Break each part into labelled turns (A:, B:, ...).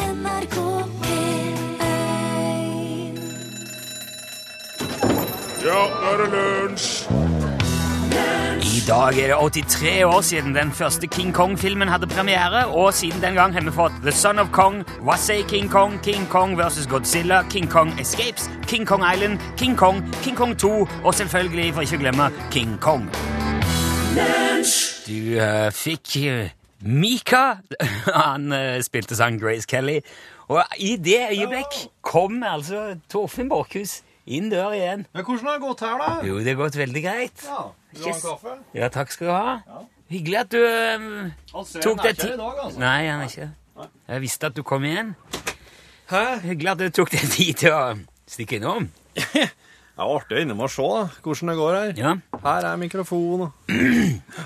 A: NRK P1
B: Ja, nå er det lunsj!
C: I dag er det 83 år siden den første King Kong-filmen hadde premiere, og siden den gang har vi fått The Son of Kong, Wasay King Kong, King Kong vs. Godzilla, King Kong Escapes, King Kong Island, King Kong, King Kong 2 og selvfølgelig, for ikke å glemme, King Kong. Du eh, fikk eh, Mika. Han eh, spilte sang Grace Kelly. Og i det øyeblikk kom altså Torfinn Borkhus inn døra igjen.
D: Men hvordan har det gått her, da?
C: Jo, det har gått veldig greit.
D: Ja, Vil du ha en
C: Yes.
D: kaffe?
C: Ja, takk skal du ha. Hyggelig at du øhm,
D: Altså,
C: tok
D: han er
C: deg
D: ikke her
C: tid
D: i dag, altså.
C: Nei, han er ikke Jeg visste at du kom igjen. Hyggelig at du tok deg tid til å stikke innom.
D: Det er artig å innom og se da, hvordan det går her.
C: Ja.
D: Her er mikrofonen. og-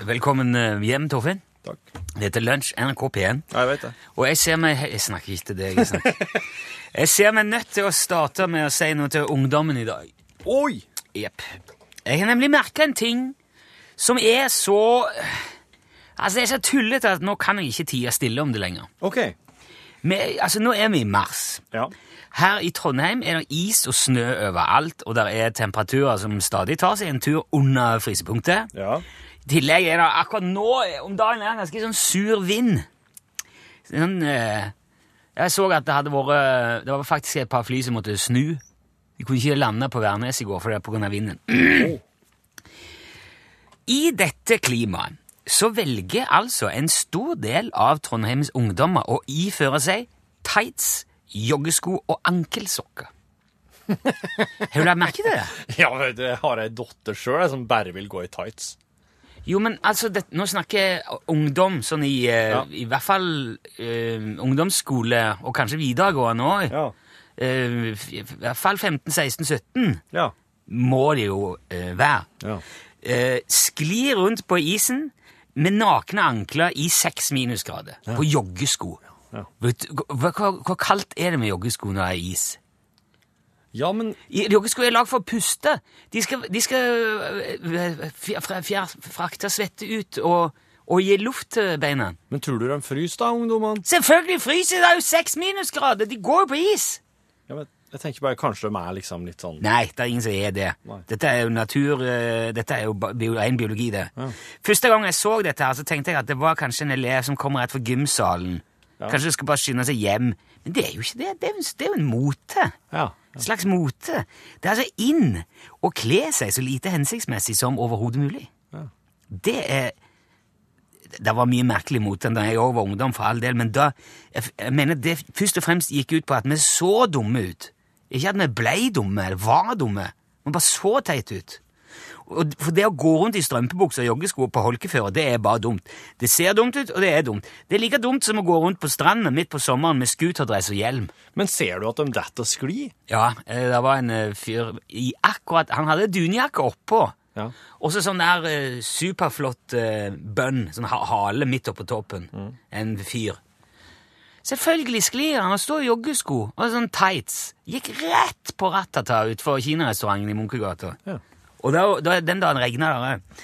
C: Velkommen øh, hjem, Torfinn.
D: Takk.
C: Det heter Lunsj, NRK P1.
D: Ja, jeg vet det.
C: Og jeg ser meg Jeg snakker ikke til deg. Jeg, snakker. jeg ser meg nødt til å starte med å si noe til ungdommen i dag.
D: Oi!
C: Jepp. Jeg har nemlig merka en ting som er så eh, Altså, det er så tullete at nå kan jeg ikke tie stille om det lenger.
D: Ok.
C: Vi, altså, nå er vi i mars.
D: Ja.
C: Her i Trondheim er det is og snø overalt, og det er temperaturer som stadig tar seg en tur under frysepunktet.
D: Ja.
C: I tillegg er det akkurat nå om dagen er det en ganske sånn sur vind. Sånn, eh, jeg så at det hadde vært Det var faktisk et par fly som måtte snu. De kunne ikke lande på Værnes i går for det er på grunn av vinden. I dette klimaet så velger altså en stor del av Trondheims ungdommer å iføre seg tights, joggesko og ankelsokker. Har du lagt merke til det?
D: Ja, vet du, jeg har ei datter sjøl jeg, som bare vil gå i tights.
C: Jo, men altså, det, nå snakker jeg ungdom, sånn i, eh,
D: Ja.
C: i hvert fall eh, ungdomsskole, og kanskje videregående òg.
D: Ja.
C: I hvert fall 15-16-17
D: Ja.
C: må det jo eh, være.
D: Ja.
C: Eh, skli rundt på isen med nakne ankler i seks minusgrader, på joggesko.
D: Ja.
C: Vet, du, hva, hva, hva kaldt er det med joggesko når det er is?
D: ja, men
C: I- Joggesko er lag for å puste. De skal, de skal eh, fjer- fjer- frakte svette ut og, og gi luft til beina.
D: Men tror du de fryser, da, ungdommene?
C: Selvfølgelig fryser det! Det er jo seks minusgrader! De går jo på is!
D: Ja, men jeg tenker bare kanskje de er liksom litt sånn
C: Nei, det er ingen som er det.
D: Nei.
C: Dette er jo natur, eh, dette er jo ba- bio- ren biologi, det. Første gang jeg så dette, her, så tenkte jeg at det var kanskje en elev som kom rett fra gymsalen. Kanskje du skal bare skynde seg hjem. Men det er jo ikke det. Det er jo, det er jo en mote.
D: Ja.
C: En slags mote. Det er altså inn å kle seg så lite hensiktsmessig som overhodet mulig. Det er Det var mye merkelig mot den da jeg òg var ungdom, for all del, men da jeg, f- jeg mener det først og fremst gikk ut på at vi så dumme ut. Ikke at vi blei dumme eller var dumme. Vi bare så teite ut. Og d- for det å gå rundt i strømpebukser og joggesko på holkeføre, det er bare dumt. Det ser dumt ut, og det er dumt. Det er like dumt som å gå rundt på stranda midt på sommeren med scooterdress og hjelm.
D: Men ser du at de detter og sklir?
C: Ja, eh, det var en eh, fyr i akkurat Han hadde dunjakke oppå.
D: Ja.
C: Og så sånn der eh, superflott eh, bønn, sånn ha- hale midt oppå toppen.
D: Mm.
C: En fyr. Selvfølgelig sklir han og står i joggesko og sånn tights. Gikk rett på Ratata utenfor kinarestauranten i Munkegata.
D: Ja.
C: Og da, da, den dagen regna det.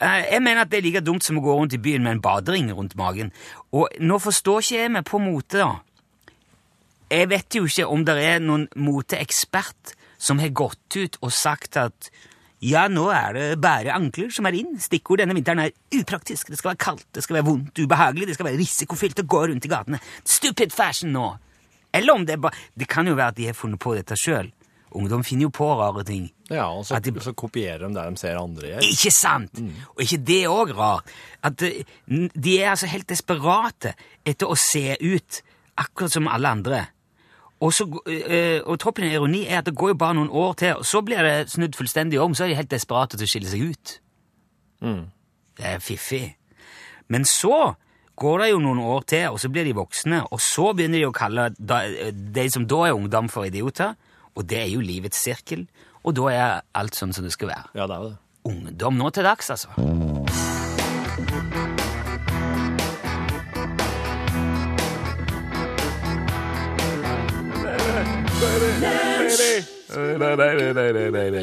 C: Eh, Jeg mener at det er like dumt som å gå rundt i byen med en badering rundt magen. Og nå forstår ikke jeg meg på mote, da. Jeg vet jo ikke om det er noen moteekspert som har gått ut og sagt at ja, nå er det bare ankler som er inn. Stikkord denne vinteren er upraktisk. Det skal være kaldt, det skal være vondt, ubehagelig, det skal være risikofylt å gå rundt i gatene. Stupid fashion nå! Eller om det er bare Det kan jo være at de har funnet på dette sjøl. Ungdom finner jo på rare ting.
D: Ja, og så,
C: At de-
D: så kopierer de det de ser andre gjør.
C: Ikke sant? Og ikke det òg rart. At eh, n- de er altså helt desperate etter å se ut akkurat som alle andre. Og, så, g- eh, og toppen av ironi er at det går jo bare noen år til, og så blir det snudd fullstendig om, så er de helt desperate til å skille seg ut. Det er fiffig. Men så går det jo noen år til, og så blir de voksne, og så begynner de å kalle da- eh, de som da er ungdom, for idioter. Og det er jo livets sirkel, og da er alt sånn som det skal være
D: Ja, det er jo det.
C: ungdom nå til dags, altså.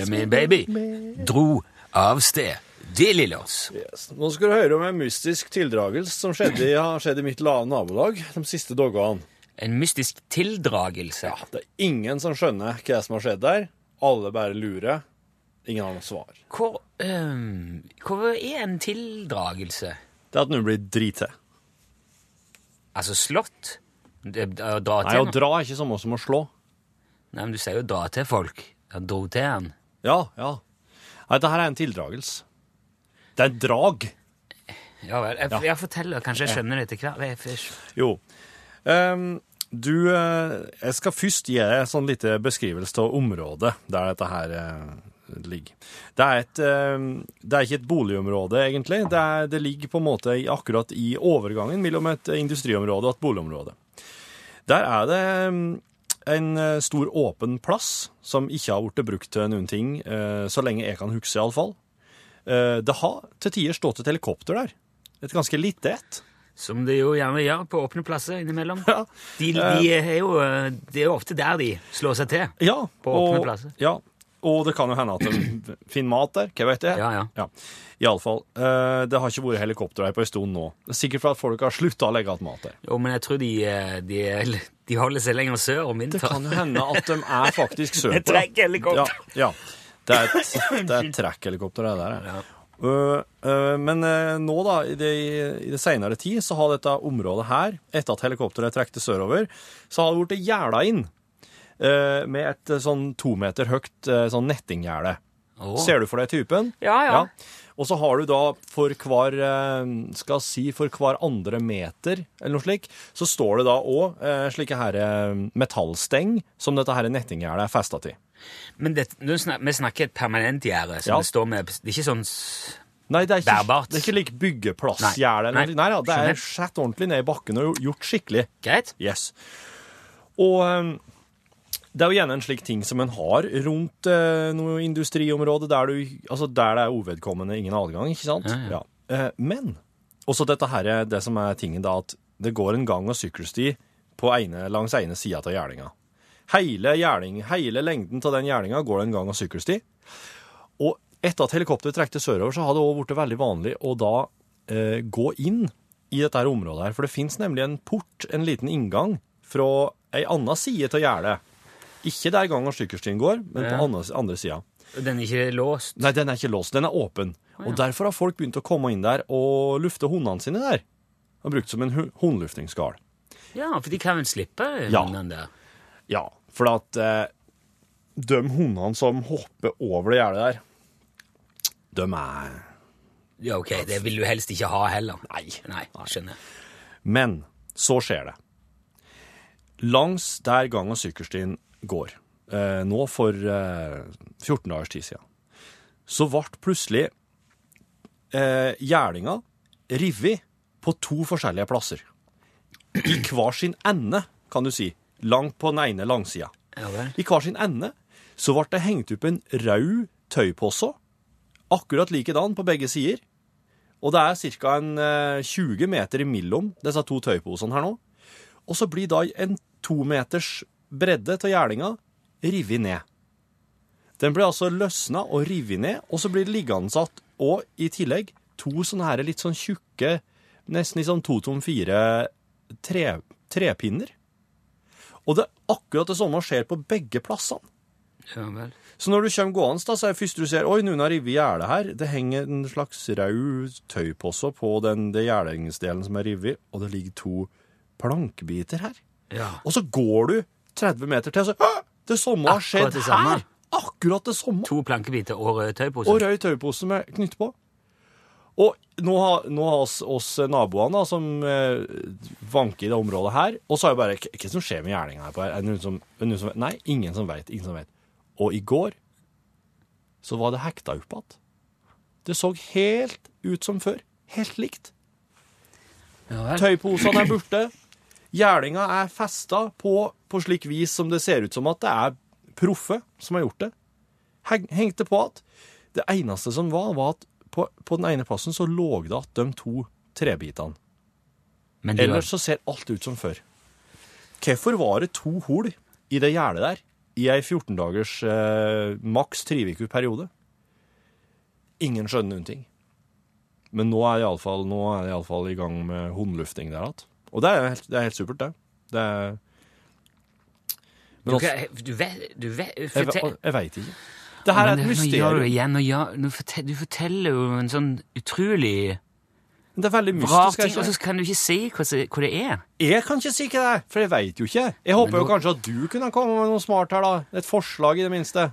C: Min baby dro av sted. Det, Lillers.
D: Yes. Nå skal du høre om en mystisk tildragelse som skjedde, har skjedd i mitt la- nabolag de siste dagene.
C: En mystisk tildragelse.
D: Det er ingen som skjønner hva som har skjedd der. Alle bare lurer. Ingen har noe svar.
C: Hvor, øhm, hvor er en tildragelse?
D: Det er at noen blir drite.
C: Altså slått? Det- Å dra
D: Nei,
C: til
D: å
C: noen?
D: dra er ikke samme som å slå.
C: Nei, men du sier jo dra til folk. Han dro til han.
D: Ja, ja. Nei, dette her er en tildragelse. Det er et drag.
C: Ja vel. Jeg,
D: Ja.
C: jeg forteller, kanskje jeg skjønner det etter hvert. Jeg- jeg-
D: Jo. Ehm, du, eh, jeg skal først gi deg en sånn lite beskrivelse av området der dette her eh, ligger. Det er, et, eh, det er ikke et boligområde, egentlig. Det, er, det ligger på en måte i, akkurat i overgangen mellom et industriområde og et boligområde. Der er det eh, en eh, stor åpen plass som ikke har blitt brukt til noen ting, eh, så lenge jeg kan huske, iallfall. Eh, Det har til tider stått et helikopter der. Et ganske lite et.
C: Som de jo gjerne gjør på åpne plasser innimellom.
D: Ja.
C: De, de er jo, øh, det er jo ofte der de slår seg til.
D: Ja,
C: På åpne plasser.
D: Ja, og det kan jo hende at de finner mat der, hva vet jeg.
C: Ja, ja.
D: Iallfall. Eh, det har ikke vært helikopter her på en stund nå. Det er Sikkert for at folk har slutta å legge igjen mat der.
C: Jo, men jeg tror de, øh, de, de holder seg lenger sør om
D: Det
C: vinteren.
D: kan jo hende at de er faktisk sørpå.
C: Det er trekkhelikopter.
D: Ja, ja. Det er et, det er et trekkhelikopter, det der. ja. Eh, eh, men eh, nå, da, i det, i det seinere tid, så har dette området her, etter at helikopteret trekte sørover, så har det blitt gjerda inn eh, med et eh, sånn to meter høyt eh, sånn nettinggjerde.
C: Åh.
D: Ser du for deg typen?
C: Ja, ja.
D: Og så har du da for hver eh, skal jeg si for hver andre meter eller noe slik, så står det da òg slike her eh, metallsteng som dette her nettinggjerdet er festa til.
C: Men det, nå snak, vi snakker et permanent gjerde. som
D: Ja.
C: Det står med, det er ikke sånn s-
D: Nei, det er ikke,
C: Bærbart.
D: det er ikke like byggeplassgjerde.
C: Nei,
D: Nei, nei, ja, det
C: skjønner.
D: er skjært ordentlig ned i bakken og gjort skikkelig.
C: Greit?
D: Yes. Og ehm, det er jo gjerne en slik ting som en har rundt eh, noe industriområde der, du, altså der det er uvedkommende ingen adgang, ikke sant?
C: Ja, ja.
D: Eh, men også dette her er det som er tingen da, at det går en gang- og sykkelsti på ene, langs ene sida av gjerninga. Hele, gjerning, hele lengden av den gjerninga går det en gang- og sykkelsti. Og etter at helikopteret trekte sørover, så har det også blitt veldig vanlig å da eh, gå inn i dette her området her. For det fins nemlig en port, en liten inngang, fra ei anna side av gjerdet. Ikke der gang- og sykkelstien går, men på
C: Ja.
D: andre, andre sida.
C: Den er ikke låst?
D: Nei, den er ikke låst, den er åpen. Og derfor har folk begynt å komme inn der og lufte hundene sine der. Og brukt som en hu- hundluftingsgard.
C: Ja, for de kan vel slippe
D: Ja.
C: den der?
D: Ja, for at eh, de hundene som hopper over det gjerdet der, de er
C: Ja, ok, det vil du helst ikke ha heller.
D: Nei.
C: Nei, skjønner.
D: Men så skjer det. Langs der gang- og sykkelstien går, eh, nå for eh, 14 dagers tid siden, så ble plutselig eh, gjerdinga revet på to forskjellige plasser. I hver sin ende, kan du si. Langt på den ene langsida.
C: Ja vel.
D: I hver sin ende så ble det hengt opp en rød tøypose, akkurat likedan på begge sider. Og det er ca. 20 meter imellom disse to tøyposene her nå. Og så blir da en to meters bredde til gjerninga revet ned. Den blir altså løsna og revet ned, og så blir det liggende satt, og i tillegg to sånne her litt sånn tjukke, nesten litt sånn to tom fire tre, trepinner. Og det er akkurat det samme skjer på begge plassene.
C: Ja vel.
D: Så når du kommer gående, da, så er det først du ser Oi, noen har revet gjerdet her. Det henger en slags rød tøypose på den det gjerdingsdelen som er revet, og det ligger to plankbiter her.
C: Ja.
D: Og så går du 30 meter til, og så «Hæ? Det samme har skjedd
C: Akkurat det samme.
D: her! Akkurat det samme!
C: To plankebiter og rød tøypose.
D: Og rød tøypose med knytt på. Og nå har, nå har oss, oss naboene da, som eh, vanker i det området her, og så er det bare Hva er det som skjer med gjerninga her? på her? Er det noen som, er det noen som vet? Nei, ingen som veit. Ingen som vet. Og i går så var det hekta opp igjen. Det så helt ut som før. Helt likt.
C: Ja vel.
D: Tøyposene er borte. Gjerninga er festa på, på slik vis som det ser ut som at det er proffe som har gjort det. Heng, hengte på at Det eneste som var, var at på, på den ene plassen så lå det at de to trebitene.
C: Men de
D: Ellers så ser alt ut som før. Hvorfor var det to hol i det gjerdet der i ei 14 dagers eh, maks trivikup periode? Ingen skjønner noen ting. Men nå er det iallfall i gang med hundlufting der igjen. Og det er, helt, det er helt supert, det. det er, Men
C: Du,
D: også,
C: kan- du vet, du vet
D: jeg,
C: fortell-
D: jeg veit ikke. Det her er
C: Men Nå gjør du det
D: et mysterium.
C: igjen. Nå gjør, nå fortel, du forteller jo en sånn utrolig
D: Det er veldig
C: rar
D: mystisk.
C: ting, og
D: Jeg,
C: så kan du ikke si hva, som- hva det er.
D: jeg kan ikke si hva det er, for jeg veit jo ikke. Jeg håper jo kanskje at du kunne komme med noe smart her, da. Et forslag, i det minste.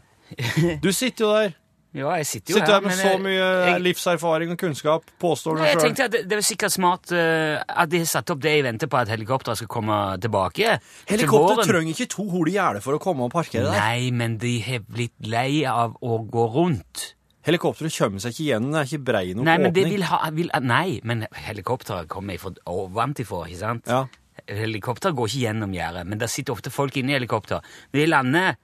D: Du sitter jo der.
C: Ja, jeg sitter jo
D: Sitter
C: her,
D: der med
C: men
D: så
C: jeg-
D: mye
C: jeg-
D: livserfaring og kunnskap, påstår du
C: Nei, jeg
D: sjøl.
C: tenkte at det, det er sikkert smart eh, at de har satt opp det i vente på at helikopteret skal komme tilbake.
D: Helikopter trenger ikke to hol i gjerdet for å komme og parkere der.
C: Nei, men de har blitt lei av å gå rundt.
D: Helikopteret kommer seg ikke igjen, det er ikke brei nok
C: Nei, men det
D: åpning.
C: vil ha vil, Nei, men helikopteret kommer ifra vant ifra, ikke sant?
D: Ja.
C: Helikopter går ikke gjennom gjerdet, men der sitter ofte folk inne i helikopter. Når de lander,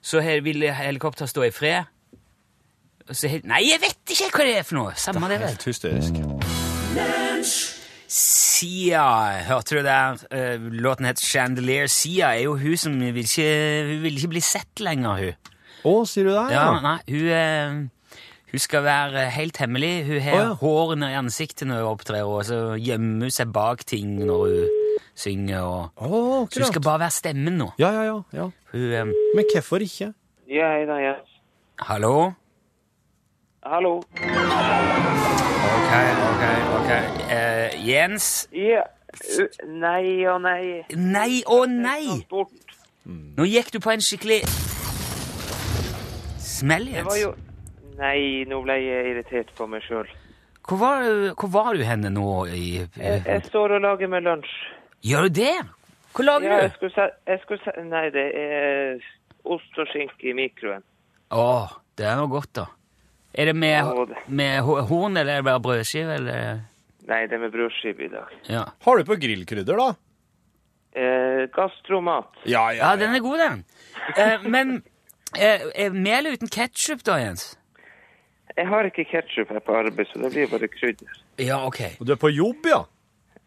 C: så he- vil helikopteret stå i fred. Og Så he nei, jeg vet ikke hva det er for noe! Samme det, vel.
D: Helt hysterisk.
C: Sia, hørte du der? Eh, Låten heter Chandelier. Sia er jo hun som vil ikke, hun vil ikke bli sett lenger, hun.
D: Å, sier du det?
C: Ja, Ah, nei, hun, eh, hun skal være helt hemmelig. Hun har
D: Å, ja.
C: hår under ansiktet når hun opptrer, og så gjemmer hun seg bak ting når hun synger. Og...
D: Å,
C: Så hun skal
D: akkurat.
C: bare være stemmen nå.
D: Ja, ja, ja, ja.
C: Hun, eh,
D: Men hvorfor ikke?
A: Ja, hei da, ja.
C: hallo?
A: Hallo.
C: Ok, ok, ok. Eh, Jens?
A: Ja. ø, Nei og nei.
C: Nei og nei!
A: Transport.
C: Nå gikk du på en skikkelig smell,
A: Det var
C: Jens.
A: jo... Nei, nå ble jeg irritert på meg selv.
C: Hvor var, du- hvor var du henne nå? I,
A: Jeg står og lager meg lunsj.
C: gjør du det? Hva lager
A: Ja, jeg
C: du?
A: skulle se... Jeg skulle se... Nei, det er ost og skinke i mikroen.
C: Å, det er noe godt, da. Er det med,
A: Å, det-
C: med ho- horn, eller er det bare brødskive, eller
A: Nei, det er med brødskiv i dag.
C: ja.
D: Har du på grillkrydder, da?
A: Eh, gastromat.
D: Ja,
C: ja, den er god, den. Eh, men eh, er mel uten ketsjup, da, Jens?
A: Jeg har ikke ketchup her på arbeid, så det blir bare krydder.
C: Ja, OK.
D: Du er på jobb, ja?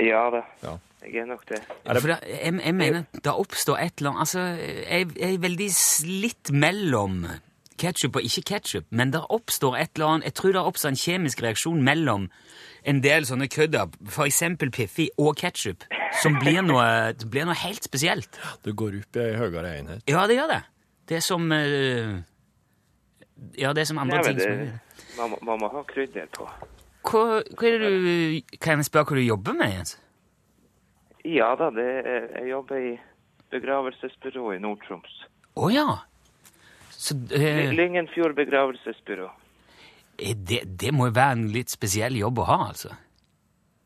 A: Ja da.
D: Ja.
A: Jeg er nok det.
D: Er det-
C: For da, jeg, jeg mener det oppstår et eller annet Altså, jeg, jeg er veldig slitt mellom ketsjup og ikke ketsjup, men det oppstår et eller annet Jeg tror det oppstår en kjemisk reaksjon mellom en del sånne kødder, f.eks. Piffi og ketsjup, som blir noe, det blir noe helt spesielt.
D: Du går opp i ei høyere enhet.
C: Ja, det gjør det. Det er som eh, Ja, det er som andre
A: Nei,
C: ting
A: men det...
C: som
A: Man må, man må ha krydder på.
C: hva, hva er det du Kan jeg spørre hva du jobber med, Jens?
A: Ja da, det er... Jeg jobber i begravelsesbyrå i Nord-Troms.
C: Å ja! Så eh,
A: Lyngenfjord begravelsesbyrå.
C: Eh, Det, det må jo være en litt spesiell jobb å ha, altså.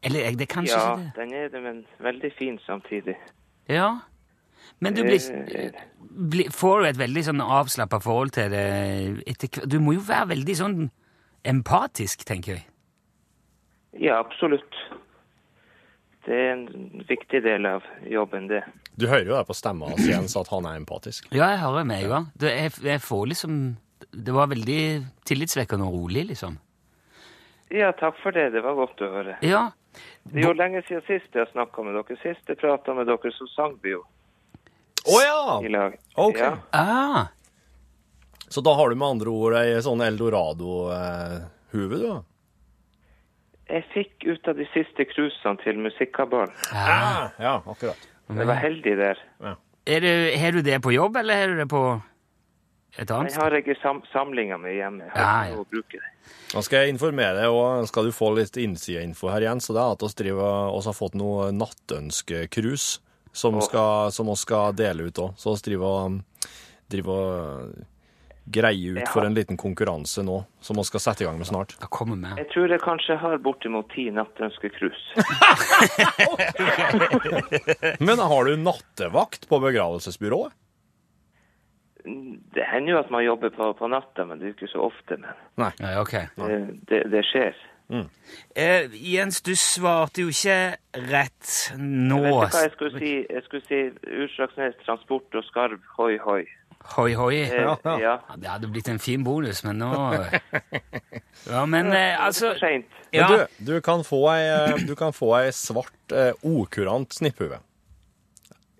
C: Eller eh, det er kanskje
A: Ja,
C: ikke
A: den er det, men veldig fin samtidig.
C: det. Ja. Men du blir,
A: Eh,
C: blir Får du et veldig sånn avslappa forhold til det etter hvert? Du må jo være veldig sånn empatisk, tenker jeg.
A: Ja, absolutt. Det er en viktig del av jobben, det.
D: Du hører jo der på stemma hans, Jens, at han er empatisk.
C: Ja, jeg hører med en gang. Det, jeg, jeg får liksom Det var veldig tillitsvekkende og rolig, liksom.
A: Ja, takk for det. Det var godt å høre.
C: Ja.
A: Det er jo lenge siden sist jeg har snakka med dere. Sist jeg prata med dere, så sang vi jo
D: Å
A: i
D: ja!
A: lag.
D: Ok.
A: Ja,
C: Ah,
D: Så da har du med andre ord ei sånn eldorado-hue, du, da?
A: jeg fikk ut av de siste cruisene til Musikkabalen.
D: Ah, ja, akkurat.
A: Jeg var heldig der.
C: er du, har du det på jobb, eller har du det på et annet?
A: Jeg har ikke sam samlinga mi hjemme. Jeg
C: Ja,
A: har
C: ja.
A: ikke noe å bruke det.
D: Da skal jeg informere deg, og skal du få litt innsideinfo her igjen. Så det er at oss driver, oss har fått noe nattønskekrus som, skal, som oss skal dele ut òg. Så oss driver og um, driver og greier ut for en liten konkurranse nå, som vi skal sette i gang med snart.
C: Da kommer vi.
A: Jeg tror jeg kanskje har bortimot ti nattønskecruise.
D: Men har du nattevakt på begravelsesbyrået?
A: Det hender jo at man jobber på, på natta, men det er jo ikke så ofte. Men
C: Ja, ok.
A: eh, det, det skjer.
C: Eh, Jens, du svarte jo ikke rett nå.
A: Vet du hva jeg skulle si? Jeg skulle si Utslagsnes Transport og Skarv, hoi, hoi.
C: Hoi, hoi.
A: Eh,
C: Ja,
D: ja.
A: ja.
C: det hadde blitt en fin bonus, men nå Ja, men eh, altså
A: For sent.
C: ja,
D: Men du, du kan få ei, eh, du kan få ei svart, eh, okurant snipphue.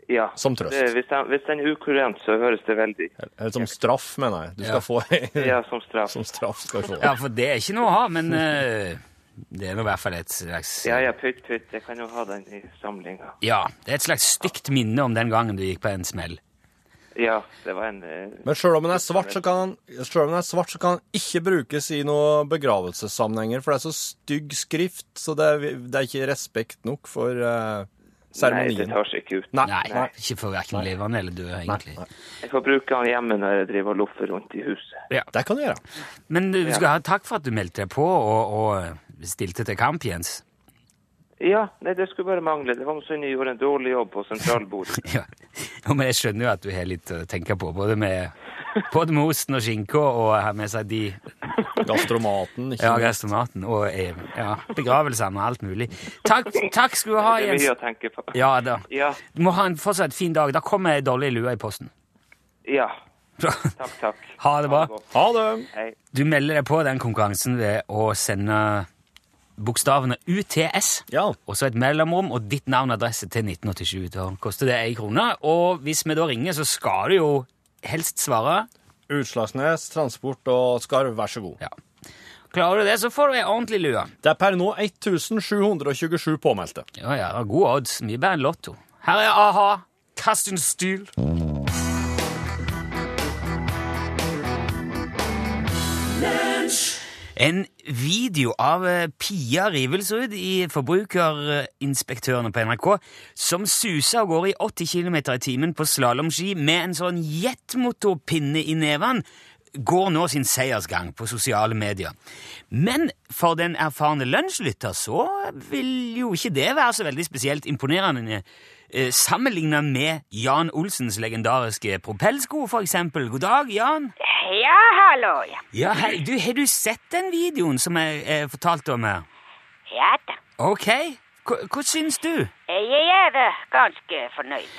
A: Ja.
D: Som trøst.
A: Det, hvis, den, hvis den er ukurant, så høres det veldig
D: Eller Eh, som straff, mener jeg. Du skal
C: Ja.
D: få ei
A: Ja, som straff.
D: som straff. skal du få.
C: ja, for det er ikke noe å ha, men eh, det er nå i hvert fall et slags
A: Ja, ja, pytt, pytt. Jeg kan jo ha den i samlinga.
C: Ja, det er et slags stygt minne om den gangen du gikk på en smell.
A: Ja, det var en eh,
D: Men sjøl om den er svart, så kan den, selv om den, er svart, så kan den ikke brukes i noen begravelsessammenhenger, for det er så stygg skrift, så det er, det er ikke respekt nok for eh,
A: Nei, det
D: seremonien.
A: tar seg ikke ut.
C: Nei, ikke for hverken levende eller døde, egentlig.
A: Jeg får bruke den hjemme når jeg driver og loffer rundt i huset.
D: Det kan du gjøre.
C: Men du skal ha takk for at du meldte deg på og, og stilte til kamp, Jens.
A: Ja, nei, det skulle bare mangle. Det var om Sunne gjorde en dårlig jobb på sentralbordet.
C: Ja. Jo, men jeg skjønner jo at du har litt å tenke på, både med, både med osten og skinka og her med seg de
D: Gastromaten. Ikke
C: ja,
D: noe.
C: gastromaten og eh, ja, begravelsene og alt mulig. Takk, takk skal du ha,
A: Det er
C: Jens.
A: mye å tenke på.
C: Ja da.
A: Ja.
C: Du må ha en fortsatt fin dag. Da kommer ei dårlig lue i posten.
A: Ja. Takk, takk.
C: Ha det bra.
A: godt.
D: Ha det!
A: Hei.
C: Du melder deg på den konkurransen ved å sende bokstavene UTS.
D: Ja.
C: Og så et mellomrom og ditt navn og adresse til 1987. Da koster det én krone. Og hvis vi da ringer, så skal du jo helst svare.
D: Utslagsnes, transport og skarv, vær så god.
C: Ja. Klarer du det, så får du ei ordentlig lue.
D: Det er per nå 1727 påmeldte.
C: Ja, ja, gode odds. Mye bedre enn Lotto. Her er a-ha. Kast en stil. En video av eh, Pia Rivelsrud i Forbrukerinspektørene på NRK som suser av gårde i 80 km i timen på slalåmski med en sånn jetmotorpinne i neven, går nå sin seiersgang på sosiale medier. Men for den erfarne lunsjlytter så vil jo ikke det være så veldig spesielt imponerende eh, sammenlignet med Jan Olsens legendariske propellsko, for eksempel. God dag, Jan!
E: Ja, hallo, ja.
C: Ja, hei, du, har du sett den videoen som jeg eh, fortalte om her?
E: Ja da.
C: Ok, hva, hva syns du?
E: Jeg er da ganske fornøyd.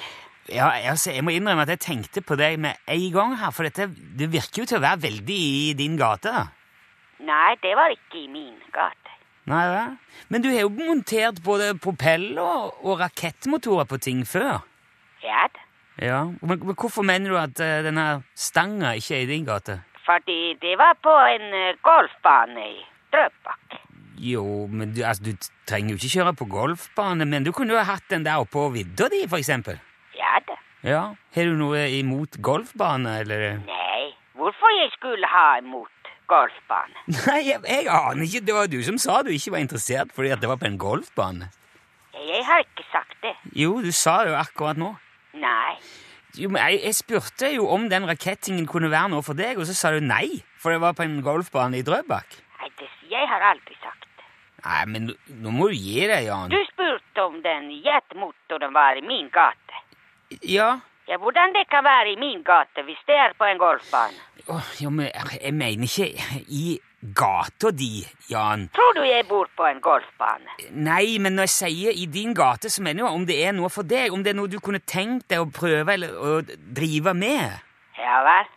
C: Ja, altså, jeg må innrømme at jeg tenkte på deg med en gang her, for dette, det virker jo til å være veldig i din gate. da.
E: Nei, det var ikke i min gate.
C: Nei, vel? Men du har jo montert både propeller og, og rakettmotorer på ting før.
E: Ja da.
C: Ja, men, men hvorfor mener du at eh, denne stanga ikke er i din gate?
E: Fordi det var på en eh, golfbane i Drøbak.
C: Jo, men du, altså, du trenger jo ikke kjøre på golfbane, men du kunne jo ha hatt den der oppe på vidda di, for eksempel.
E: Ja da.
C: Ja, Har du noe imot golfbane, eller?
E: Nei, hvorfor jeg skulle ha imot golfbane?
C: Nei, jeg, jeg aner ikke. Det var du som sa du ikke var interessert fordi at det var på en golfbane.
E: Jeg har ikke sagt det.
C: Jo, du sa det jo akkurat nå.
E: Nei.
C: Jo, men jeg, jeg spurte jo om den rakettingen kunne være noe for deg, og så sa du nei, for det var på en golfbane i Drøbak.
E: Nei, det, jeg har aldri sagt det.
C: Nei, men nå- nå må du gi deg, Jan.
E: Du spurte om den jetmotoren var i min gate.
C: Ja.
E: Ja, hvordan det kan være i min gate hvis det er på en golfbane?
C: Åh, jo, men jeg jeg mener ikke i gata di, Jan.
E: Tror du jeg bor på en golfbane?
C: Nei, men når jeg sier i din gate, så mener jeg jo om det er noe for deg. Om det er noe du kunne tenkt deg å prøve eller å drive med.
E: Ja vel.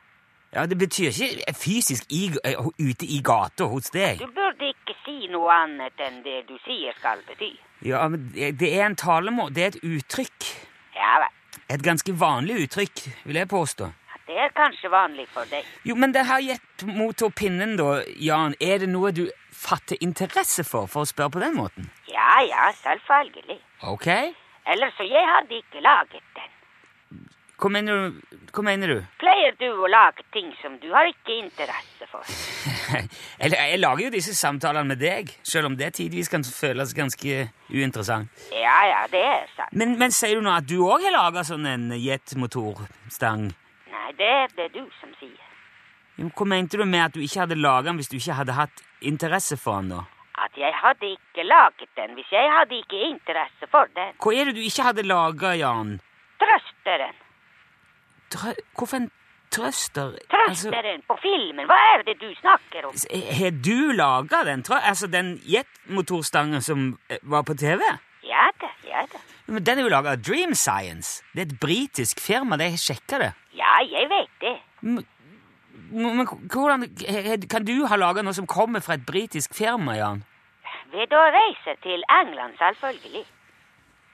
C: Ja, Det betyr ikke fysisk i, eh, ute i gata hos deg.
E: Du burde ikke si noe annet enn det du sier skal bety.
C: Ja, men Det det er en talemål. Det er et uttrykk.
E: Ja vel.
C: Et ganske vanlig uttrykk, vil jeg påstå.
E: Det er kanskje vanlig for deg.
C: Jo, Men det her jetmotorpinnen, da, Jan, er det noe du fatter interesse for, for å spørre på den måten?
E: Ja ja, selvfølgelig.
C: Ok.
E: Ellers så jeg hadde ikke laget den.
C: Hva mener du? Hva mener du?
E: Pleier du å lage ting som du har ikke interesse for?
C: Jeg, jeg lager jo disse samtalene med deg, selv om det tidvis kan føles ganske uinteressant.
E: Ja ja, det er sant.
C: Men, men sier du nå at du òg har laga sånn en jetmotorstang?
E: Nei, det er det du som sier.
C: Jo, Hva mente du med at du ikke hadde laget den hvis du ikke hadde hatt interesse for den? da?
E: At jeg hadde ikke laget den hvis jeg hadde ikke interesse for den.
C: Hva er det du ikke hadde laget, Jan?
E: Trøsteren.
C: Trø Hvorfor en trøster?
E: Trøsteren på filmen. Hva er det du snakker om?
C: Altså, har du laget den trø... Altså, den jetmotorstangen som eh, var på TV?
E: Ja da, ja da.
C: Men Den er jo laget av Dream Science. Det er et britisk firma. De har sjekka det.
E: Ja, jeg vet det.
C: Men men hvordan he- he- Kan du ha laget noe som kommer fra et britisk firma, Jan?
E: Ved å reise til England, selvfølgelig.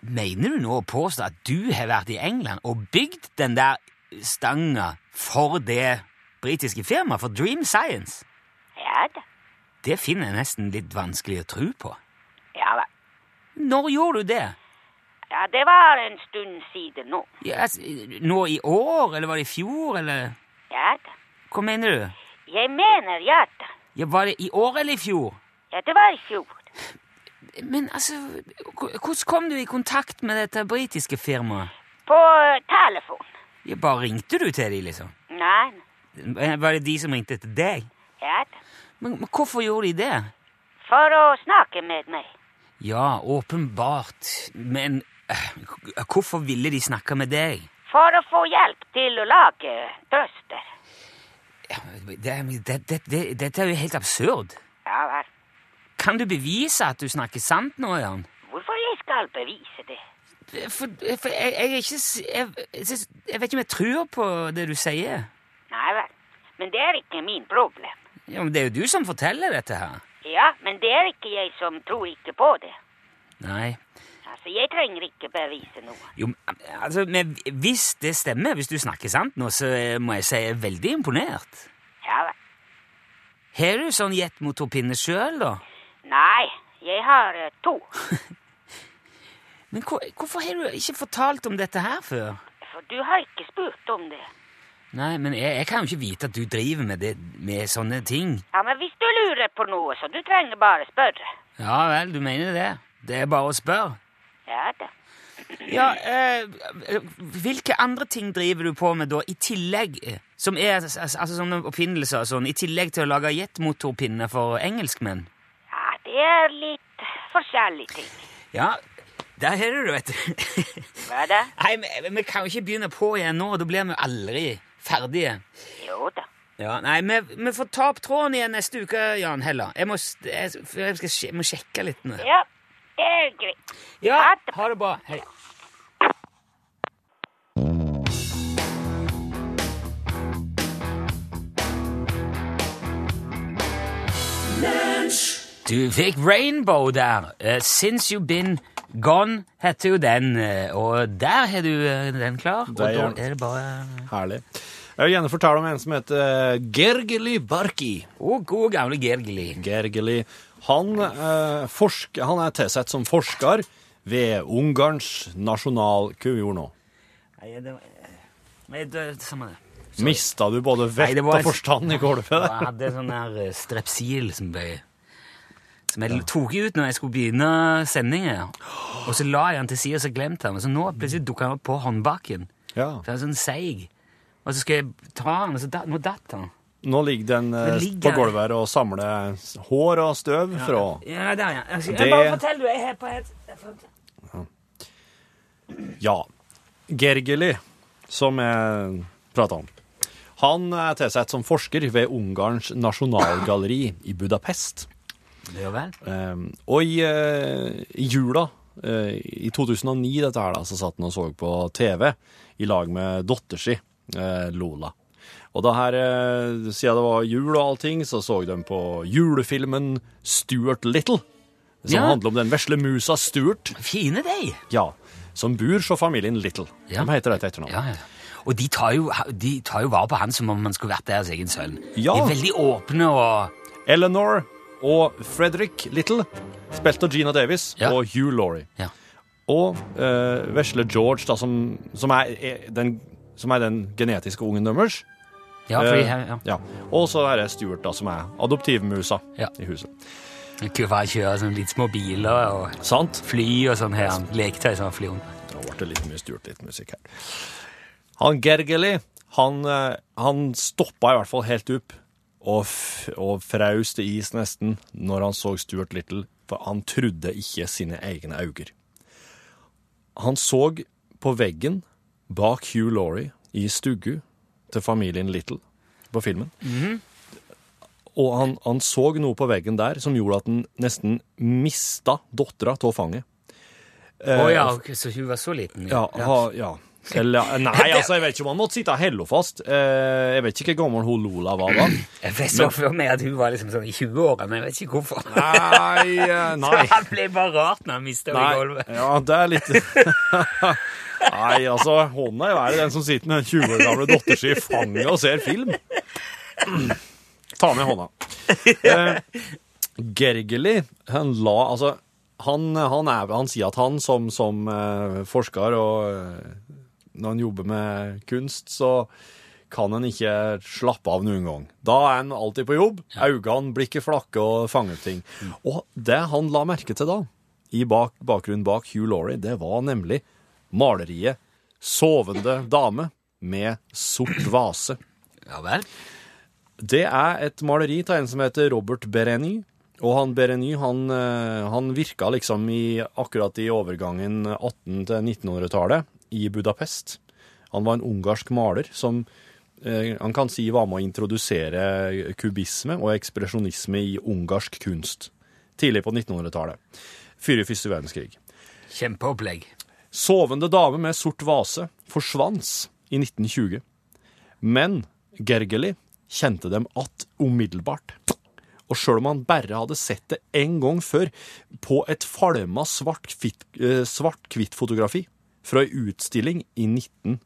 C: Mener du nå å påstå at du har vært i England og bygd den der stanga for det britiske firmaet, for Dream Science?
E: Ja da.
C: Det finner jeg nesten litt vanskelig å tro på.
E: Ja vel.
C: Når gjorde du det?
E: Ja, det var en stund siden nå.
C: Ja, altså, nå i år, eller var det i fjor, eller
E: Ja da.
C: Hva mener du?
E: Jeg mener ja da.
C: Ja, Var det i år eller i fjor?
E: Ja, det var i fjor.
C: Men altså, h- hvordan kom du i kontakt med dette britiske firmaet?
E: På eh, telefon.
C: Ja, bare ringte du til dem, liksom?
E: Nei, nei.
C: Var det de som ringte til deg?
E: ja da.
C: Men, men hvorfor gjorde de det?
E: For å snakke med meg.
C: Ja, åpenbart. Men øh, h- hvorfor ville de snakke med deg?
E: For å få hjelp til å lage trøster.
C: Ja, Det, det, det, det, dette er jo helt absurd.
E: Ja vel.
C: Kan du bevise at du snakker sant nå, Jan?
E: Hvorfor jeg skal bevise det?
C: For, for jeg, jeg er ikke s- jeg, jeg, synes- jeg vet ikke om jeg tror på det du sier.
E: Nei vel. Men det er ikke min problem.
C: Ja, men Det er jo du som forteller dette her.
E: Ja, men det er ikke jeg som tror ikke på det.
C: Nei.
E: Altså, jeg trenger ikke bevise noe.
C: Jo, men, altså, men Hvis det stemmer, hvis du snakker sant nå, så eh, må jeg si jeg er veldig imponert.
E: Ja vel.
C: Har du sånn jetmotorpinne sjøl, da?
E: Nei, jeg har eh, to.
C: Men hvor, hvorfor har du ikke fortalt om dette her før?
E: For du har ikke spurt om det.
C: Nei, men jeg, jeg kan jo ikke vite at du driver med, det, med sånne ting.
E: Ja, men hvis du lurer på noe, så du trenger bare spørre.
C: Ja vel, du mener det. Det er bare å spørre.
E: Ja da.
C: Ja, eh, eh, Hvilke andre ting driver du på med da, i tillegg? eh, Som er altså, altså, sånne oppfinnelser og sånn, i tillegg til å lage jetmotorpinner for engelskmenn?
E: Ja, det er litt forskjellige ting.
C: Ja, der har du det, vet du.
E: Hva da?
C: Nei, men men vi kan jo ikke begynne på igjen nå, da blir vi aldri ferdige.
E: Jo da.
C: Ja, nei, vi, vi får ta opp tråden igjen neste uke, Jan Hella. Jeg må, s- jeg, for jeg skal, sj- jeg må sjekke litt nå.
E: Ja, det er greit.
C: Ja,
E: Ha det.
C: ha det bra. Hei. Du fikk Rainbow der. Eh, Since You've Been Gone heter jo den, eh, og der har du eh, den klar. Og
D: Der, ja.
C: da er det bare
D: Herlig. Jeg vil gjerne fortelle om en som heter eh, Gergely Barki.
C: Å, gode gamle Gergely.
D: Gergely. Han, eh, forsk, han er tilsett som forsker ved Ungarns nasjonal... Hva vi gjorde nå?
C: Nei, det var eh, Nei, det er det samme det.
D: Mista du både
C: Nei,
D: vett
C: det var
D: og
C: en-
D: forstand i gulvet?
C: Og jeg hadde sånn der eh, strepsil som ble Som jeg tok ut når jeg skulle begynne sendingen. Og så la jeg den til siden og så glemte jeg den. Og så nå plutselig dukka den opp på håndbaken.
D: Ja.
C: For den er sånn seig. Og så skal jeg ta den, og så da, nå datt den.
D: Nå ligger den eh,
C: Den ligger
D: på
C: der.
D: gulvet her og samler s- hår og støv fra
C: Ja, der, ja. Jeg skal-
D: Det-
C: jeg Bare fortell, du. Jeg har på helt jeg fant det.
D: Ja. Gergely, som jeg prata om. Han er tilsett som forsker ved Ungarns nasjonalgalleri i Budapest.
C: Ja vel.
D: Um, og i, eh, i jula eh, i 2009, dette her da, så satt han og så på TV i lag med dotter si, eh, Lola. Og det her, eh, siden det var jul og allting, så så de på julefilmen Stuart Little, som
C: Ja.
D: handler om den vesle musa Stuart,
C: Fine deg.
D: ja, som bor så familien Little.
C: Ja.
D: De heter dette etternavn.
C: Ja, ja. Og de tar, jo, de tar jo vare på han som om han skulle vært deres egen sønn.
D: Ja.
C: De er veldig åpne og
D: Eleanor og Frederick Little, spilt av Gina Davis,
C: Ja.
D: og Hugh Laurie.
C: Ja.
D: Og eh, vesle George, da, som, som, er, er den, som er den genetiske ungen deres.
C: Ja, for de,
D: Eh,
C: ja.
D: ja. Og så er det Stuart, da, som er adoptivmusa
C: Ja.
D: i huset.
C: De kunne bare kjøre sånn litt små biler og
D: Sant?
C: fly og sånn her. Leketøy som fly rundt.
D: Da ble det litt mye Stuart, litt musikk her. Han Gergely, han, eh, han stoppa i hvert fall helt opp og, f og fraus til is nesten når han så Stuart Little, for han trodde ikke sine egne øyne. Han så på veggen bak Hugh Laurie i stugu til familien Little på filmen.
C: Mhm.
D: Og han, han så noe på veggen der som gjorde at han nesten mista dattera av fanget. Eh,
C: Å ja, ok, så hun var så liten?
D: Ja, ha, ja. Eller, nei, altså, jeg vet ikke om han måtte sitte hello fast. Eh, jeg vet ikke hvor gammel hun Lola var da.
C: Jeg vet så for meg at hun var liksom sånn i 20-åra, men jeg vet ikke hvorfor.
D: Nei, eh,
C: Så
D: nei.
C: han ble bare rart når han mista henne i
D: nei.
C: gulvet.
D: Ja, det er litt Nei, altså, hånda i været, den som sitter med den 20 år gamle datter si i fanget og ser film. Ta med hånda. Eh, Gergely, han la Altså, han, han, er, han sier at han som, som eh, forsker og eh, når han jobber med kunst, så kan han ikke slappe av noen gang. Da er han alltid på jobb. Øynene, blikket flakker og fanger ting. Og det han la merke til da, i bak, bakgrunnen bak Hugh Laurie, det var nemlig maleriet 'Sovende dame' med sort vase.
C: Ja vel.
D: Det er et maleri av en som heter Robert Bereny. Og han Bereny han, eh, han virka liksom i, akkurat i overgangen 1800- til 1900-tallet i Budapest. Han var en ungarsk maler som eh, han kan si var med å introdusere kubisme og ekspresjonisme i ungarsk kunst tidlig på 1900-tallet, før i første verdenskrig.
C: Kjempeopplegg.
D: Sovende dame med sort vase forsvant i 1920. Men Gergely kjente dem att umiddelbart. Og sjøl om han bare hadde sett det én gang før, på et falma svart-hvitt-fotografi fra ei utstilling i 19...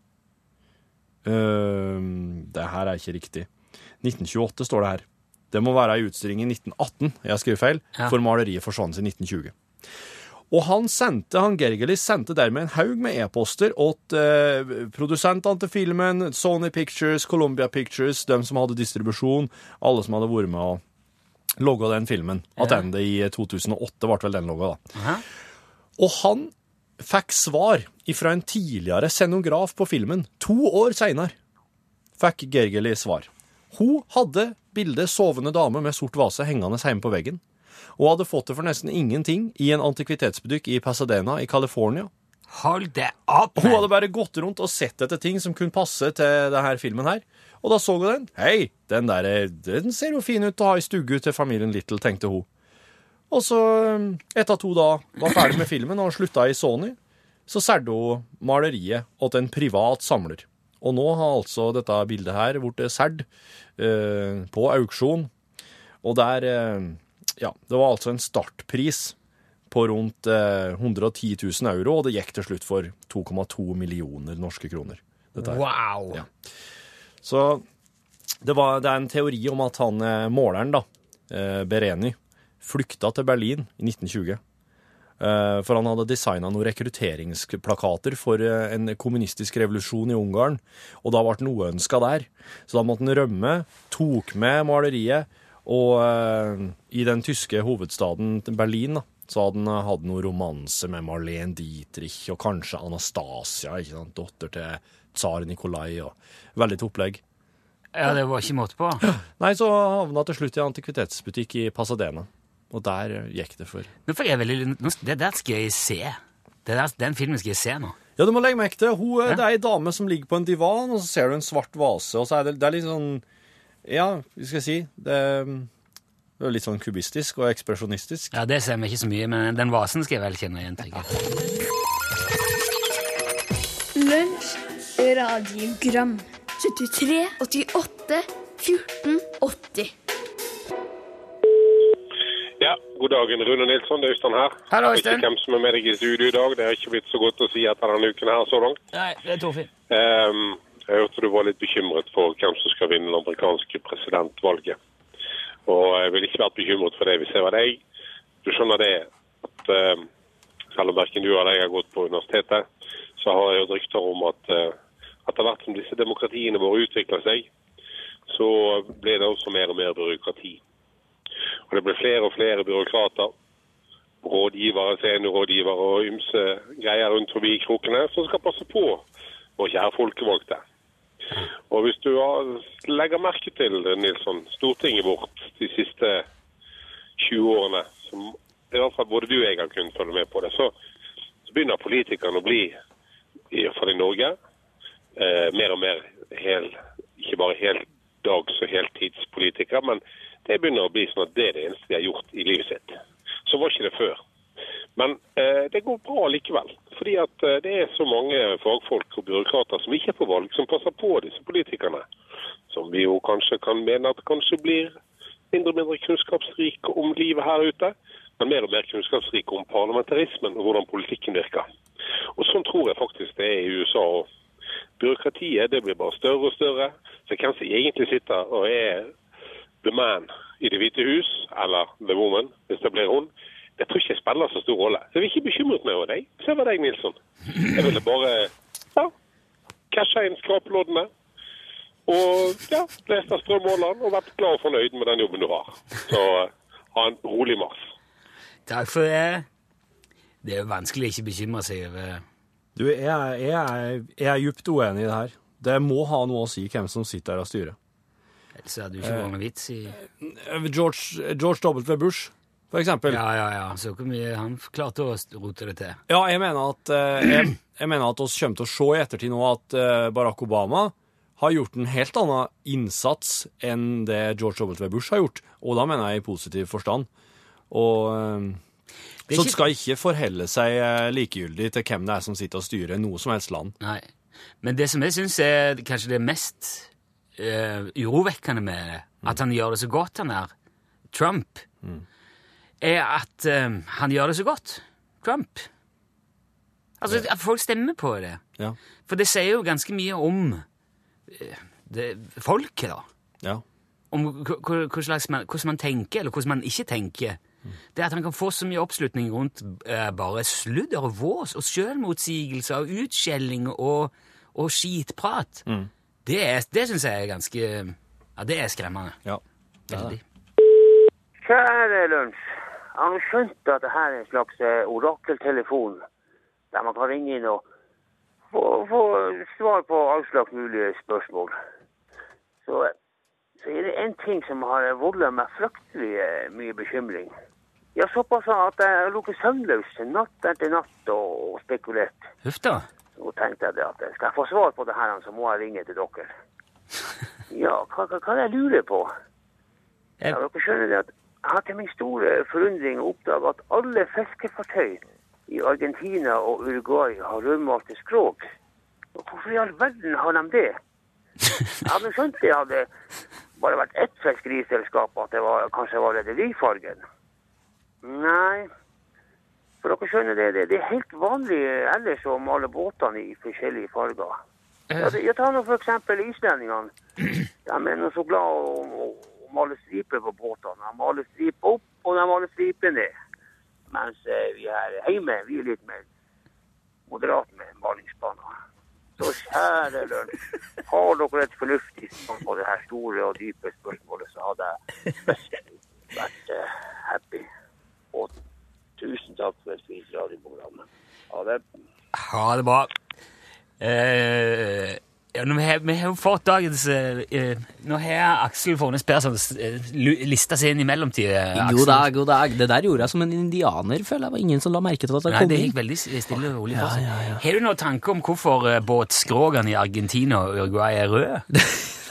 D: Uh, det her er ikke riktig. 1928 står det her. Det må være ei utstilling i 1918, jeg skriver feil,
C: Ja.
D: for maleriet forsvant i 1920. Og han sendte, han Gergely sendte dermed en haug med e-poster åt eh, produsentene til filmen, Sony Pictures, Columbia Pictures, dem som hadde distribusjon, alle som hadde vært med og logga den filmen. Attende i 2008 ble vel den logga, da.
C: Aha.
D: Og han fikk svar fra en tidligere scenograf på filmen, to år seinere, fikk Gergely svar. Hun hadde bildet 'Sovende dame med sort vase' hengende hjemme på veggen og hadde fått det for nesten ingenting i en antikvitetsbutikk i Pasadena i California.
C: Hold det opp!
D: Hun
C: men.
D: hadde bare gått rundt og sett etter ting som kunne passe til denne filmen her. Og da så hun den. Hei, den der eh, den ser jo fin ut å ha i stugu til familien Little, tenkte hun. Og så, eh, etter at hun da var ferdig med filmen og slutta i Sony, så solgte hun maleriet til en privat samler. Og nå har altså dette bildet her blitt solgt eh, på auksjon. Og der eh, Ja, det var altså en startpris på rundt eh, 110 000 euro, og det gikk til slutt for 2,2 millioner norske kroner. Dette her.
C: Wow!
D: Ja. Så det, var, det er en teori om at han eh, måleren, da, eh, Bereni, flykta til Berlin i 1920. Eh, for han hadde designa noen rekrutteringsplakater for eh, en kommunistisk revolusjon i Ungarn, og da ble han uønska der. Så da måtte han rømme, tok med maleriet, og eh, i den tyske hovedstaden Berlin da, så hadde han eh, hatt noen romanse med Marlene Dietrich og kanskje Anastasia, ikke sant? dotter til tsar Nikolai. Og veldig til opplegg.
C: Ja, det var ikke måte på.
D: Nei, så havna til slutt i en antikvitetsbutikk i Pasadena. Og der eh, gikk det for
C: Nå får jeg veldig, nå, det der skal jeg se. Det der, den filmen skal jeg se nå.
D: Ja, du må legge merke til hun, eh, det er ei dame som ligger på en divan, og så ser du en svart vase, og så er det, det er litt sånn Ja, hva skal jeg si Det, det er litt sånn kubistisk og ekspresjonistisk.
C: Ja, Det ser vi ikke så mye, men den vasen skal jeg vel kjenne igjen. tenker jeg.
F: Lunsj Radiogram 73 88 14 80
G: Ja, god dagen, Rune Nilsson. Det er Øystein her.
C: Hallo,
G: Jeg vet
C: Øystein.
G: ikke hvem som er med deg i studio i dag. Det er ikke blitt så godt å si etter denne uken her så langt.
C: Nei, det er Torfinn.
G: Ehm, jeg hørte du var litt bekymret for hvem som skal vinne det amerikanske presidentvalget. Og jeg ville ikke vært bekymret for det hvis jeg var deg. Du skjønner det at ehm, selv om hverken du eller jeg har gått på universitetet, så har jeg hørt rykter om at eh, etter hvert som disse demokratiene våre utvikler seg, så blir det også mer og mer byråkrati. Og det blir flere og flere byråkrater rådgivere, seniorrådgivere og ymse greier rundt forbi krokene som skal passe på vår kjære folkevalgte. Og hvis du har- legger merke til, Nilsson, Stortinget vårt de siste 20 årene, som i hvert fall både du og jeg har kunnet følge med på det, så, så begynner politikerne å bli, i hvert fall i Norge, eh, mer og mer hel, ikke bare heldags- og heltidspolitikere, men det begynner å bli sånn at det er det eneste de har gjort i livet sitt. Så var ikke det før. Men eh, det går bra likevel. Fordi at eh, det er så mange fagfolk og byråkrater som ikke er på valg, som passer på disse politikerne. Som vi jo kanskje kan mene at kanskje blir mindre og mindre kunnskapsrike om livet her ute. Men mer og mer kunnskapsrike om parlamentarismen og hvordan politikken virker. Og sånn tror jeg faktisk det er i USA òg. Byråkratiet det blir bare større og større. Så hvem som egentlig sitter og er the man i Det hvite hus, eller the woman, hvis det blir hun, det tror ikke jeg spiller så stor rolle. Så jeg er ikke bekymret meg over deg. Se hva deg, Nilsson. Jeg ville bare ja, casha inn skrapeloddene. Og ja, lest av Strøm Aaland og vært glad og fornøyd med den jobben du har. Så eh, ha en rolig mars.
C: Takk for det. Det er jo vanskelig å ikke bekymre seg over
D: Du, jeg, er- jeg, er- jeg er djupt uenig i det her. Det må ha noe å si hvem som sitter der og styrer.
C: Ellers hadde det jo ikke vært noen vits i
D: Eh, George, George W. Bush, for eksempel.
C: Ja, ja, ja. Så hvor mye han klarte å rote det til.
D: Ja, jeg mener at eh, jeg, jeg mener at oss kommer til å se i ettertid nå at eh, Barack Obama har gjort en helt annen innsats enn det George W. Bush har gjort, og da mener jeg i positiv forstand. Og eh,
C: Det er
D: så
C: ikke-
D: skal ikke forhelle seg eh, likegyldig til hvem det er som sitter og styrer noe som helst land.
C: Nei. Men det som jeg syns er kanskje det mest eh, urovekkende med det,
D: Mm.
C: at han gjør det så godt, han her, Trump, er at eh, han gjør det så godt, Trump. Altså, at folk stemmer på det.
D: Ja,
C: For det sier jo ganske mye om eh, det, folket, da.
D: ja.
C: om hva- hva- hva slags man- hvordan man tenker, eller hvordan man ikke tenker. Det at han kan få så mye oppslutning rundt eh, bare sludder og vås og selvmotsigelser og utskjelling og, og skitprat, det, er- det syns jeg er ganske Ja, det er skremmende.
D: ja.
C: Veldig.
H: Kjære Lunsj. Har du skjønt at det her er en slags eh, orakeltelefon der man kan ringe inn og få, få svar på all slags mulige spørsmål? Så, eh, så er det én ting som har voldt meg fryktelig eh, mye bekymring. Ja, såpass at jeg har ligget søvnløs natt etter natt og, og spekulert.
C: Huff da.
H: Så tenkte jeg det at eh, skal jeg få svar på det her, så må jeg ringe til dere. Ja, hva, hva, hva er det jeg lurer på?
C: Jeg-
H: Ja, dere skjønner det at jeg har til min store forundring oppdaget at alle fiskefartøy i Argentina og Uruguay har rødmalte skrog. Og hvorfor i all verden har de det? Jeg hadde skjønt det hadde bare vært ett fiskeriselskap, at det var, kanskje var rederifargen. Nei, for dere skjønner det, det, det er helt vanlig ellers å male båtene i forskjellige farger. Ja, det, jeg tar nå for eksempel islendingene. De er nå så glad å, å, å male striper på båtene. De maler striper opp, og de maler striper ned. Mens eh, vi her hjemme, vi er litt mer moderat med malingsbaner. Så kjære lunsj, har dere et fornuftig svar på det her store og dype spørsmålet, så hadde jeg vært eh, happy. Og Tusen takk for et fint radioprogram. Ha det.
C: Ha det bra. Eh, ja, nå har, vi har jo fått dagens eh, eh, Nå har Aksel Fornes Persson eh, lu- lista seg inn i mellomtida.
I: God dag, god dag. Det der gjorde jeg som en indianer, føler jeg. Det var ingen som la merke til at jeg
C: Nei,
I: kom
C: det
I: inn.
C: gikk veldig stille og rolig for seg. Har du noen tanke om hvorfor eh, båtskrogene i Argentina og Uruguay er røde?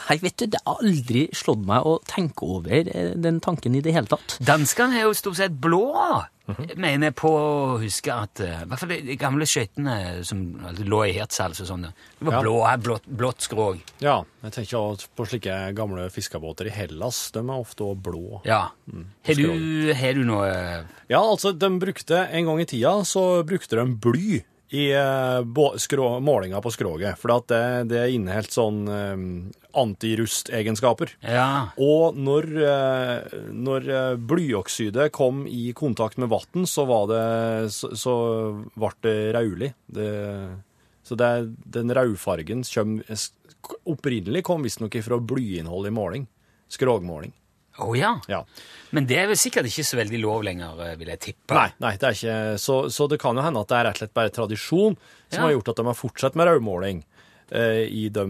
I: Nei, vet du, det har aldri slått meg å tenke over eh, den tanken i det hele tatt.
C: Danskene er jo stort sett blå, mener jeg på å huske at eh, I hvert fall de gamle skøytene som altså, lå i Hertzals og sånn. Det var
D: Ja.
C: blå, blått, blått skrog.
D: ja, jeg tenker også på slike gamle fiskebåter i Hellas. De er ofte også blå.
C: Ja. Har du, har du noe eh,
D: Ja, altså, de brukte en gang i tida så brukte de bly i eh, bå- skrå, målinga på skroget, for at det, det inneholdt sånn eh, antirustegenskaper.
C: Ja.
D: Og når, eh, når eh, blyoksidet kom i kontakt med vann, så, var det- så, så ble det rødlig. Det, så det, den rødfargen kjøm, s- opprinnelig kom visstnok fra blyinnhold i måling. Skrogmåling.
C: Å ja.
D: Ja.
C: Men det er vel sikkert ikke så veldig lov lenger, eh, vil jeg tippe.
D: Nei, nei, det er ikke så, så det kan jo hende at det er rett og slett bare tradisjon som
C: Ja.
D: har gjort at de har fortsatt med rødmåling eh, i de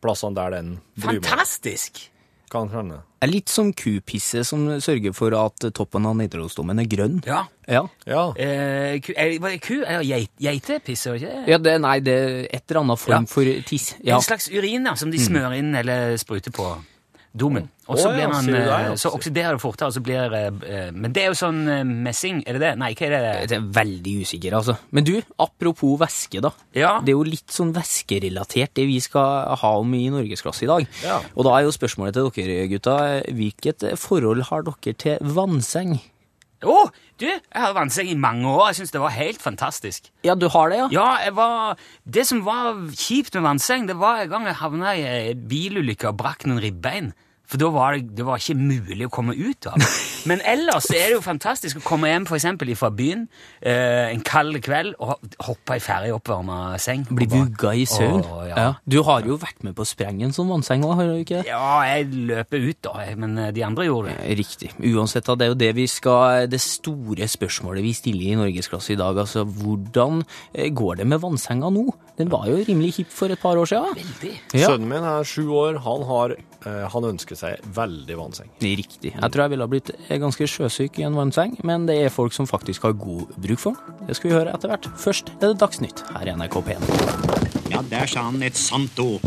D: plassene der den blymåling
C: Fantastisk!
D: kan hende.
I: Det er litt som kupisse som sørger for at toppen av Nidarosdomen er grønn.
C: Ja.
I: Ja.
D: Ja.
C: Eh, ku, er, var det ku? Eller geit, geitepiss, var det ikke det?
I: Ja, det, nei, det er et eller annet
C: Ja.
I: form for tiss. Ja.
C: En slags urin da, som de smører inn eller spruter på domen. Og så,
D: Mm. Å,
C: blir
D: ja,
C: man,
D: sier du det, ja.
C: eh, så oksiderer det fortere, og så blir eh, eh, Men det er jo sånn eh, messing, er det det? Nei, hva er det?
I: Jeg er veldig usikker, altså. Men du, apropos væske, da.
C: Ja.
I: Det er jo litt sånn væskerelatert, det vi skal ha om i norgesklasse i dag.
D: Ja.
I: Og da er jo spørsmålet til dere, gutta, hvilket forhold har dere til vannseng?
C: Å, du! Jeg har vannseng i mange år. Jeg syns det var helt fantastisk.
I: Ja, du har det, ja?
C: Ja, jeg var Det som var kjipt med vannseng, det var en gang jeg havna i ei bilulykke og brakk noen ribbein. For da var det, det var ikke mulig å komme ut av. Men ellers så er det jo fantastisk å komme hjem for eksempel fra byen eh, en kald kveld og hoppe i ferdig oppvarma seng.
H: Blir vugga i søvn.
C: Å,
H: ja.
C: ja.
H: Du har jo vært med på å sprenge en sånn vannseng òg, har du ikke? det?
C: Ja, jeg løper ut, da, jeg, men eh, de andre gjorde det.
H: Riktig. Uansett, da, det er jo det vi skal Det store spørsmålet vi stiller i Norgesklasse i dag, altså hvordan eh, går det med vannsenga nå? Den var jo rimelig hipp for et par år siden.
C: Veldig.
H: Ja.
D: Sønnen min er sju år. Han, har, eh, han ønsker seg veldig vannseng.
H: Riktig. Jeg tror jeg ville ha blitt eh, ganske sjøsyk i en vannseng, men det er folk som faktisk har god bruk for den. Det skal vi høre etter hvert. Først er det Dagsnytt her i NRK P1.
J: Ja, der sa han et sant ord.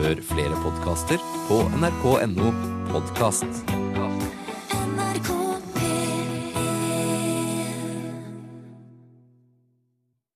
K: Hør flere podkaster på nrk.no podkast.